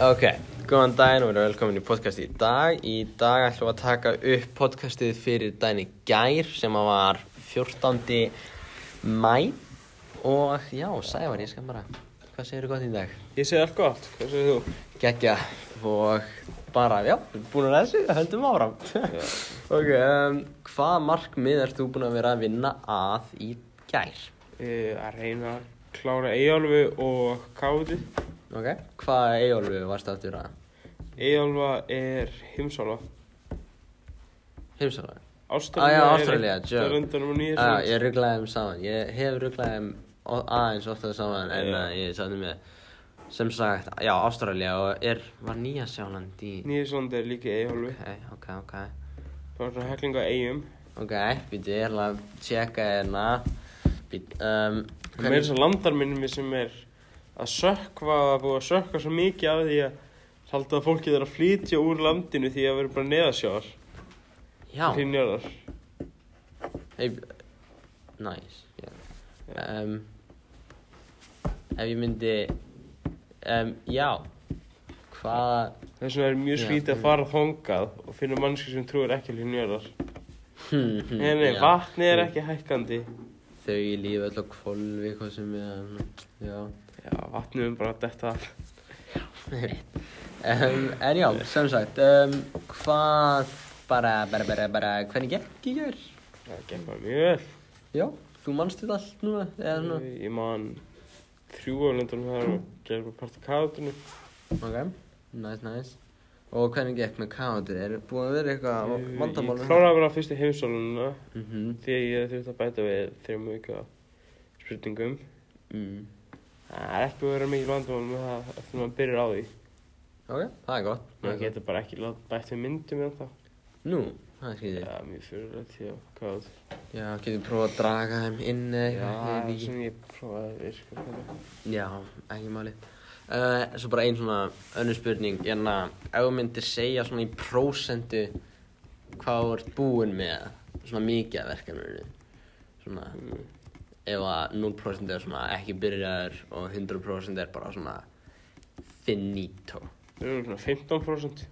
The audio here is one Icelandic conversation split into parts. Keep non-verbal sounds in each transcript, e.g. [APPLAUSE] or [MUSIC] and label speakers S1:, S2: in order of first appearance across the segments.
S1: Ok, góðan daginn og verið velkomin í podcast í dag. Í dag ætlum við að taka upp podcastið fyrir daginn í gær sem að var 14. mæ og já, Sævar, ég skal bara, hvað segirðu gott í dag?
S2: Ég segi allt gott, hvað segir þú?
S1: Gekja og bara, já, við erum búin að þessu, höldum áfram. [LAUGHS] ok, um, hvað markmið ert þú búin að vera að vinna að í gær?
S2: Uh, að reyna að klára Eyjálfu og Káði.
S1: Ok, hvað eigolfu varst aftur að?
S2: Eyjálfa er heimsálfa.
S1: Heimsarlega.
S2: Ástralja
S1: Ah, já,
S2: er
S1: Ástralía,
S2: eitt
S1: sure.
S2: af löndunum og nýja
S1: Já, ég rugglaði þeim saman. Ég hef rugglaði þeim o- aðeins oftaði saman en
S2: Já.
S1: yeah. ég sagði með, sem sagt, já, Ástralja og er, var Nýja Sjáland í...
S2: Nýjasland er líka Eyjálfu.
S1: Ok, ok, ok.
S2: Það er svona heklinga Eyjum.
S1: Ok, býttu, ég ætla að tjekka hérna. Býttu, um...
S2: Það er þess að landarminni sem er að sökva, það er búið að sökva svo mikið af því að halda að fólki þarf að flytja úr landinu því að vera bara neðasjáðar,
S1: Já,
S2: hlýnjarðar.
S1: hei, nice, já. Um, ef ég myndi, um, já, hvaða... [LAUGHS]
S2: Þess vegna er mjög
S1: Já,
S2: skrítið að fara þongað og finna mannski sem trúir ekki hlýnjarðar.
S1: Hmm, hmm,
S2: Nei, nei,
S1: já.
S2: vatnið er
S1: Hmm.
S2: ekki hækkandi.
S1: Þau í lífi öll á kvolvi, hvað sem ég, ehm, já.
S2: Já, vatnið er bara að detta af.
S1: um, en já, sem sagt, um, hvað, bara, bara, bara, bara, hvernig gekk í gær?
S2: Það gekk bara mjög vel.
S1: Já, þú manst þetta allt núna, eða svona,
S2: Ég- Ég man þrjú á löndunum þar og gerði bara part af káðutunni.
S1: ok, nice, nice. Og hvernig gekk með káður, er búin að vera eitthvað vandamál?
S2: Ég kláraði bara fyrst í heimsólununa
S1: Mm
S2: því að ég þurfti að bæta við þrjum vika spurningum.
S1: mm.
S2: Það er ekki búið að vera mikið vandamál með það eftir að maður byrjar á því.
S1: Ok, það er gott.
S2: Maður
S1: það er gott.
S2: getur bara ekki lát- bætt við myndum en þá.
S1: Nú, það er
S2: Já,
S1: skrítið.
S2: mjög fyrirlega til að káðut.
S1: Já, getur prófað að draga þeim inn eða eitthvað, ég
S2: Já, það
S1: veit
S2: er
S1: ekki.
S2: sem ég prófaði að virka þetta.
S1: Já, ekki máli. Uh, svo bara ein svona önnur spurning, en að ef þú myndir segja svona í prósendu hvað þú ert búinn með svona mikið af verkefninu, svona ef að 0% er svona ekki byrjaður og 100% er bara svona finito.
S2: Við erum svona 15%.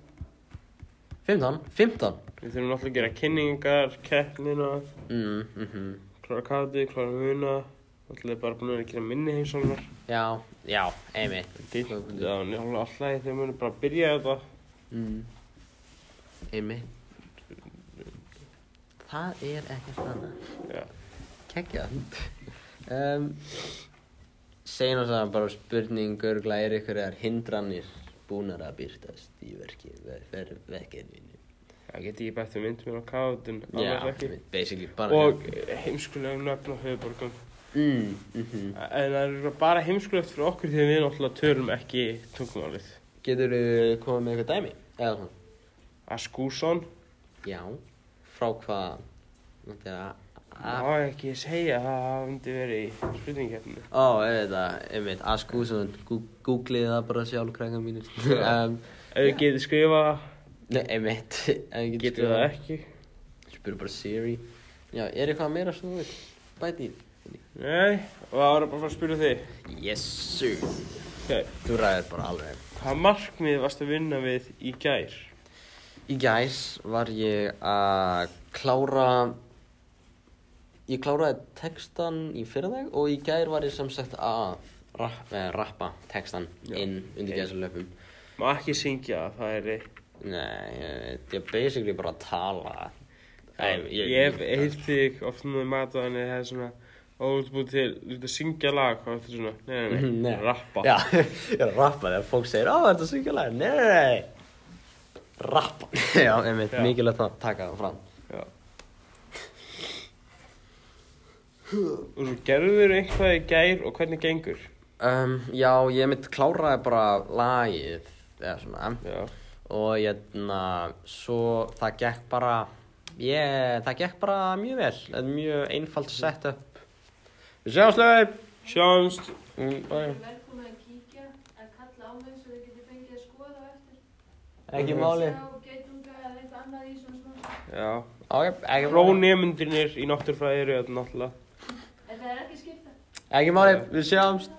S1: 15? 15?
S2: Við þurfum náttúrulega að gera kynningar, keppnina,
S1: Mm, mhm.
S2: klára kati, klára muna alltaf bara búin að vera að gera minni heimsóknar
S1: Já, já, einmitt.
S2: það er alveg alltaf í þeim muni bara að byrja þetta
S1: Mm. Einmitt. Það er ekkert annað.
S2: já,
S1: Kekja um, Segjum þess að bara spurningur er ykkur eða hindranir búnar að byrtast í verki verkefninu
S2: það geti ég bætt um myndum á káðun
S1: basically bara
S2: og heimskulegum nöfn á höfuborgum
S1: mm, mm -hmm.
S2: en það er bara heimskulegt fyrir okkur því að við náttúrulega törum ekki tungumálið
S1: Getur þú komið með eitthvað dæmi? Eða svona
S2: Askússon,
S1: Já, frá hvað Þetta er að að-
S2: má ég ekki segja það að það myndi verið í spurningkeppinu
S1: Ó, auðvitað, einmitt, Ask Gússon, googlið það bara sjálf krækka mínir um,
S2: ef við getum skrifað það,
S1: Nei, einmitt [LAUGHS] Getur
S2: getum við það ekki
S1: Spyrir bara Siri Já, er eitthvað meira sem þú vil bæti í?
S2: nei, og það var bara að fara að spyrja þig
S1: Jessu
S2: Ok,
S1: Þú ræðir bara alveg
S2: hvað markmið varst að vinna við í gær?
S1: Í gæs var ég að klára Ég kláraði textan í fyrrðag og í gær var ég sem sagt að rap, eh, rappa textan
S2: Já.
S1: inn undir
S2: Ok.
S1: gæsalöpum
S2: Má ekki syngja, það er eitt.
S1: Nei, ég veit, ég er basically bara að tala Æ,
S2: Ég hef heilt þig oft með mataðan eða það er svona óvilt búið til, þú ert að syngja lag og þetta er svona, nei, nei, nei,
S1: Mhm, Nei.
S2: rappa.
S1: Já, [LAUGHS] ég er að rappa þegar fólk segir, á, þetta er syngjulega, nei, nei, nei, [LAUGHS] rappa. Já, einmitt,
S2: Já.
S1: mikilvægt að taka það fram.
S2: Já. Og svo gerður eitthvað í gær og hvernig gengur?
S1: Um, já, ég mitt kláraði bara lagið, eða svona,
S2: Já.
S1: og hérna, svo það gekk bara, ég, það gekk bara mjög vel, þetta er mjög einfalt setup. Við sjáum slöður!
S2: Sjáumst.
S1: Mm,
S3: velkomin að kíkja að kalla á mig svo þið getið fengið að skoða á eftir.
S1: ekki máli.
S3: Sjá geitunga eða eitthvað annað í svona svona.
S2: Já.
S1: Ok, ekki máli.
S2: Rónemundinir í náttúrfræði eru þetta náttúrulega.
S3: En það er ekki skipta.
S1: Ekki máli, við sjáumst.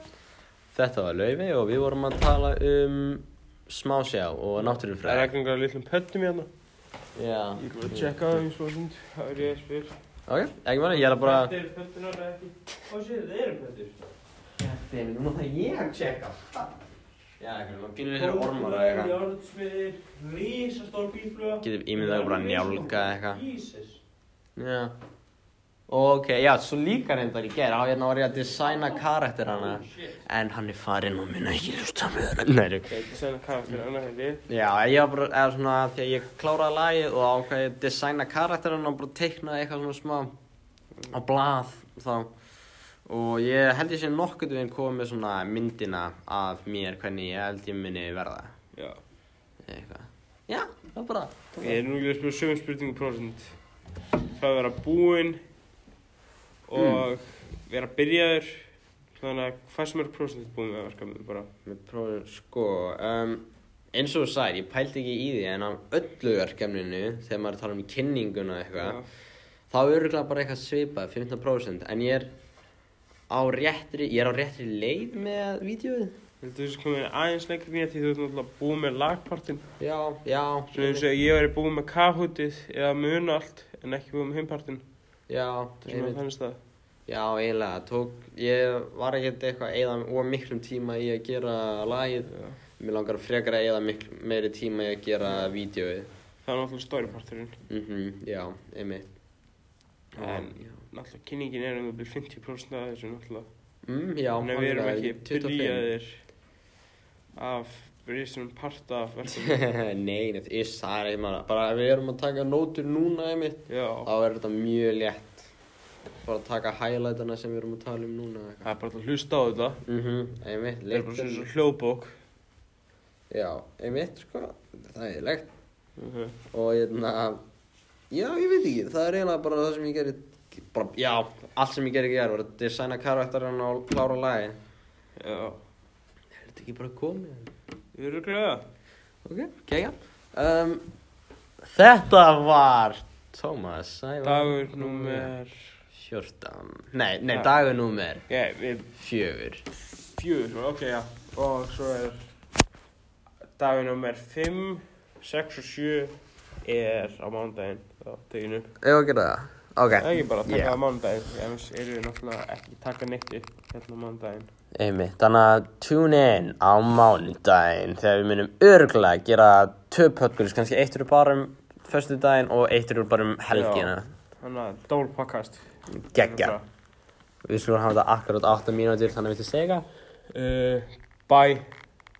S1: Þetta var Laufi og við vorum að tala um smásjá og
S2: Það er
S1: náttúrufræði.
S2: ekki einhverja litlum pöttum hérna.
S1: Já.
S2: Ég vil tjekka það eins og sund. Það er ég að spyr.
S1: Ok, ekki máli, ég er að bara...
S2: Þetta eru pöttunar eða ekki? Ó, séu, það eru pöttur.
S1: Þetta er, núna það ég að checka. Já, ekki, maður býnir
S2: Það eru orðsmiðir, rísastór bífluga.
S1: Getur ímyndað okkur að njálga eða eitthvað.
S2: Jesus.
S1: Já. Ok, já, svo líka reyndar í gera, á hérna var ég að designa karakter hana.
S2: Shit.
S1: En hann er farinn og minna ekki hlusta með hana. Nei,
S2: Ég er sæna karakter, annað hefði.
S1: Já, ég var bara, eða svona, því að ég kláraði lagið og ákvað ég að designa karakterinn og bara teiknaði eitthvað svona smá á blað þá og ég held ég sé nokkuð veginn komið með svona myndina af mér hvernig ég held ég minni verða
S2: Já.
S1: eitthvað. Já, það var bara,
S2: Ég er nú ekki að spyrja sögum spurningu prosent. Það að vera búinn og vera byrjaður. Þannig að hvað sem er prosent búinn með verkefnið bara.
S1: við prófum, sko, um, eins og þú sagði, ég pældi ekki í því en af öllu verkefninu þegar maður tala um kynninguna og eitthvað, þá er örgulega bara eitthvað svipað, 15% en ég er á réttri, ég er á réttri leið með vídeoið
S2: Heldur þú þessi komin aðeins lengri nýja því þú ert náttúrulega búinn með lagpartin.
S1: já, já,
S2: Svo eins og ég væri búinn með kahútið eða muna allt en ekki búinn með heimpartin.
S1: já,
S2: Það er svona
S1: einmitt.
S2: þannig stað.
S1: já, eiginlega tók, ég var ekkert eitthvað eigðan og miklum tíma í að gera lagið
S2: Já.
S1: mér langar frekar að eigða miklu meiri tíma í að gera vídeoið
S2: Það er náttúrulega storyparturinn.
S1: mhm, já, einmitt
S2: En
S1: já,
S2: náttúrulega kynningin er um að bli 50% af þessu náttúrulega.
S1: mm, já
S2: Þannig að við erum
S1: alveg,
S2: ekki
S1: 25.
S2: byrjaðir af byrjistum parta af verkefnið.
S1: [LAUGHS] nei, nei, það er það er bara, bara við erum að taka nótur núna einmitt
S2: Já.
S1: þá er þetta mjög létt bara að taka highlightana sem við erum að tala um núna
S2: Það er bara til að hlusta á þetta.
S1: mhm, einmitt,
S2: Það er bara svona
S1: leitt
S2: svona hljóðbók.
S1: já, einmitt, sko, það er leitt og hérna já, ég veit ekki, það er eiginlega bara það sem ég gerði bara, já, allt sem ég gerði gerði var að designa karakterinn og klára lagi
S2: Já.
S1: er þetta ekki bara komið?
S2: Við erum glæða.
S1: ok, kegja um, þetta var Thomas Sævar
S2: Dagur númer...
S1: 14, nei, nei,
S2: Ja.
S1: dagur númer
S2: Já, við
S1: fjögur
S2: fjögur, ok, já. Og svo er... Dagur númer 5, 6 og 7 er á mánudaginn. Þá tekinu.
S1: Ég var að gera það? Ok.
S2: Það er ekki bara að taka
S1: Já.
S2: á mánudaginn. því Annars erum við náttúrulega ekki að taka neitt upp hérna á mánudaginn.
S1: Einmitt, þannig að tune in á mánudaginn þegar við munum örgulega gera tvö podcast, kannski eitt eru bara um föstudaginn og eitt eru bara um helgina.
S2: Þannig að Hérna dól pakkast.
S1: Geggja. Við skulum hafa þetta akkurat 8 mínútur þannig að við til segja.
S2: Uh, bye.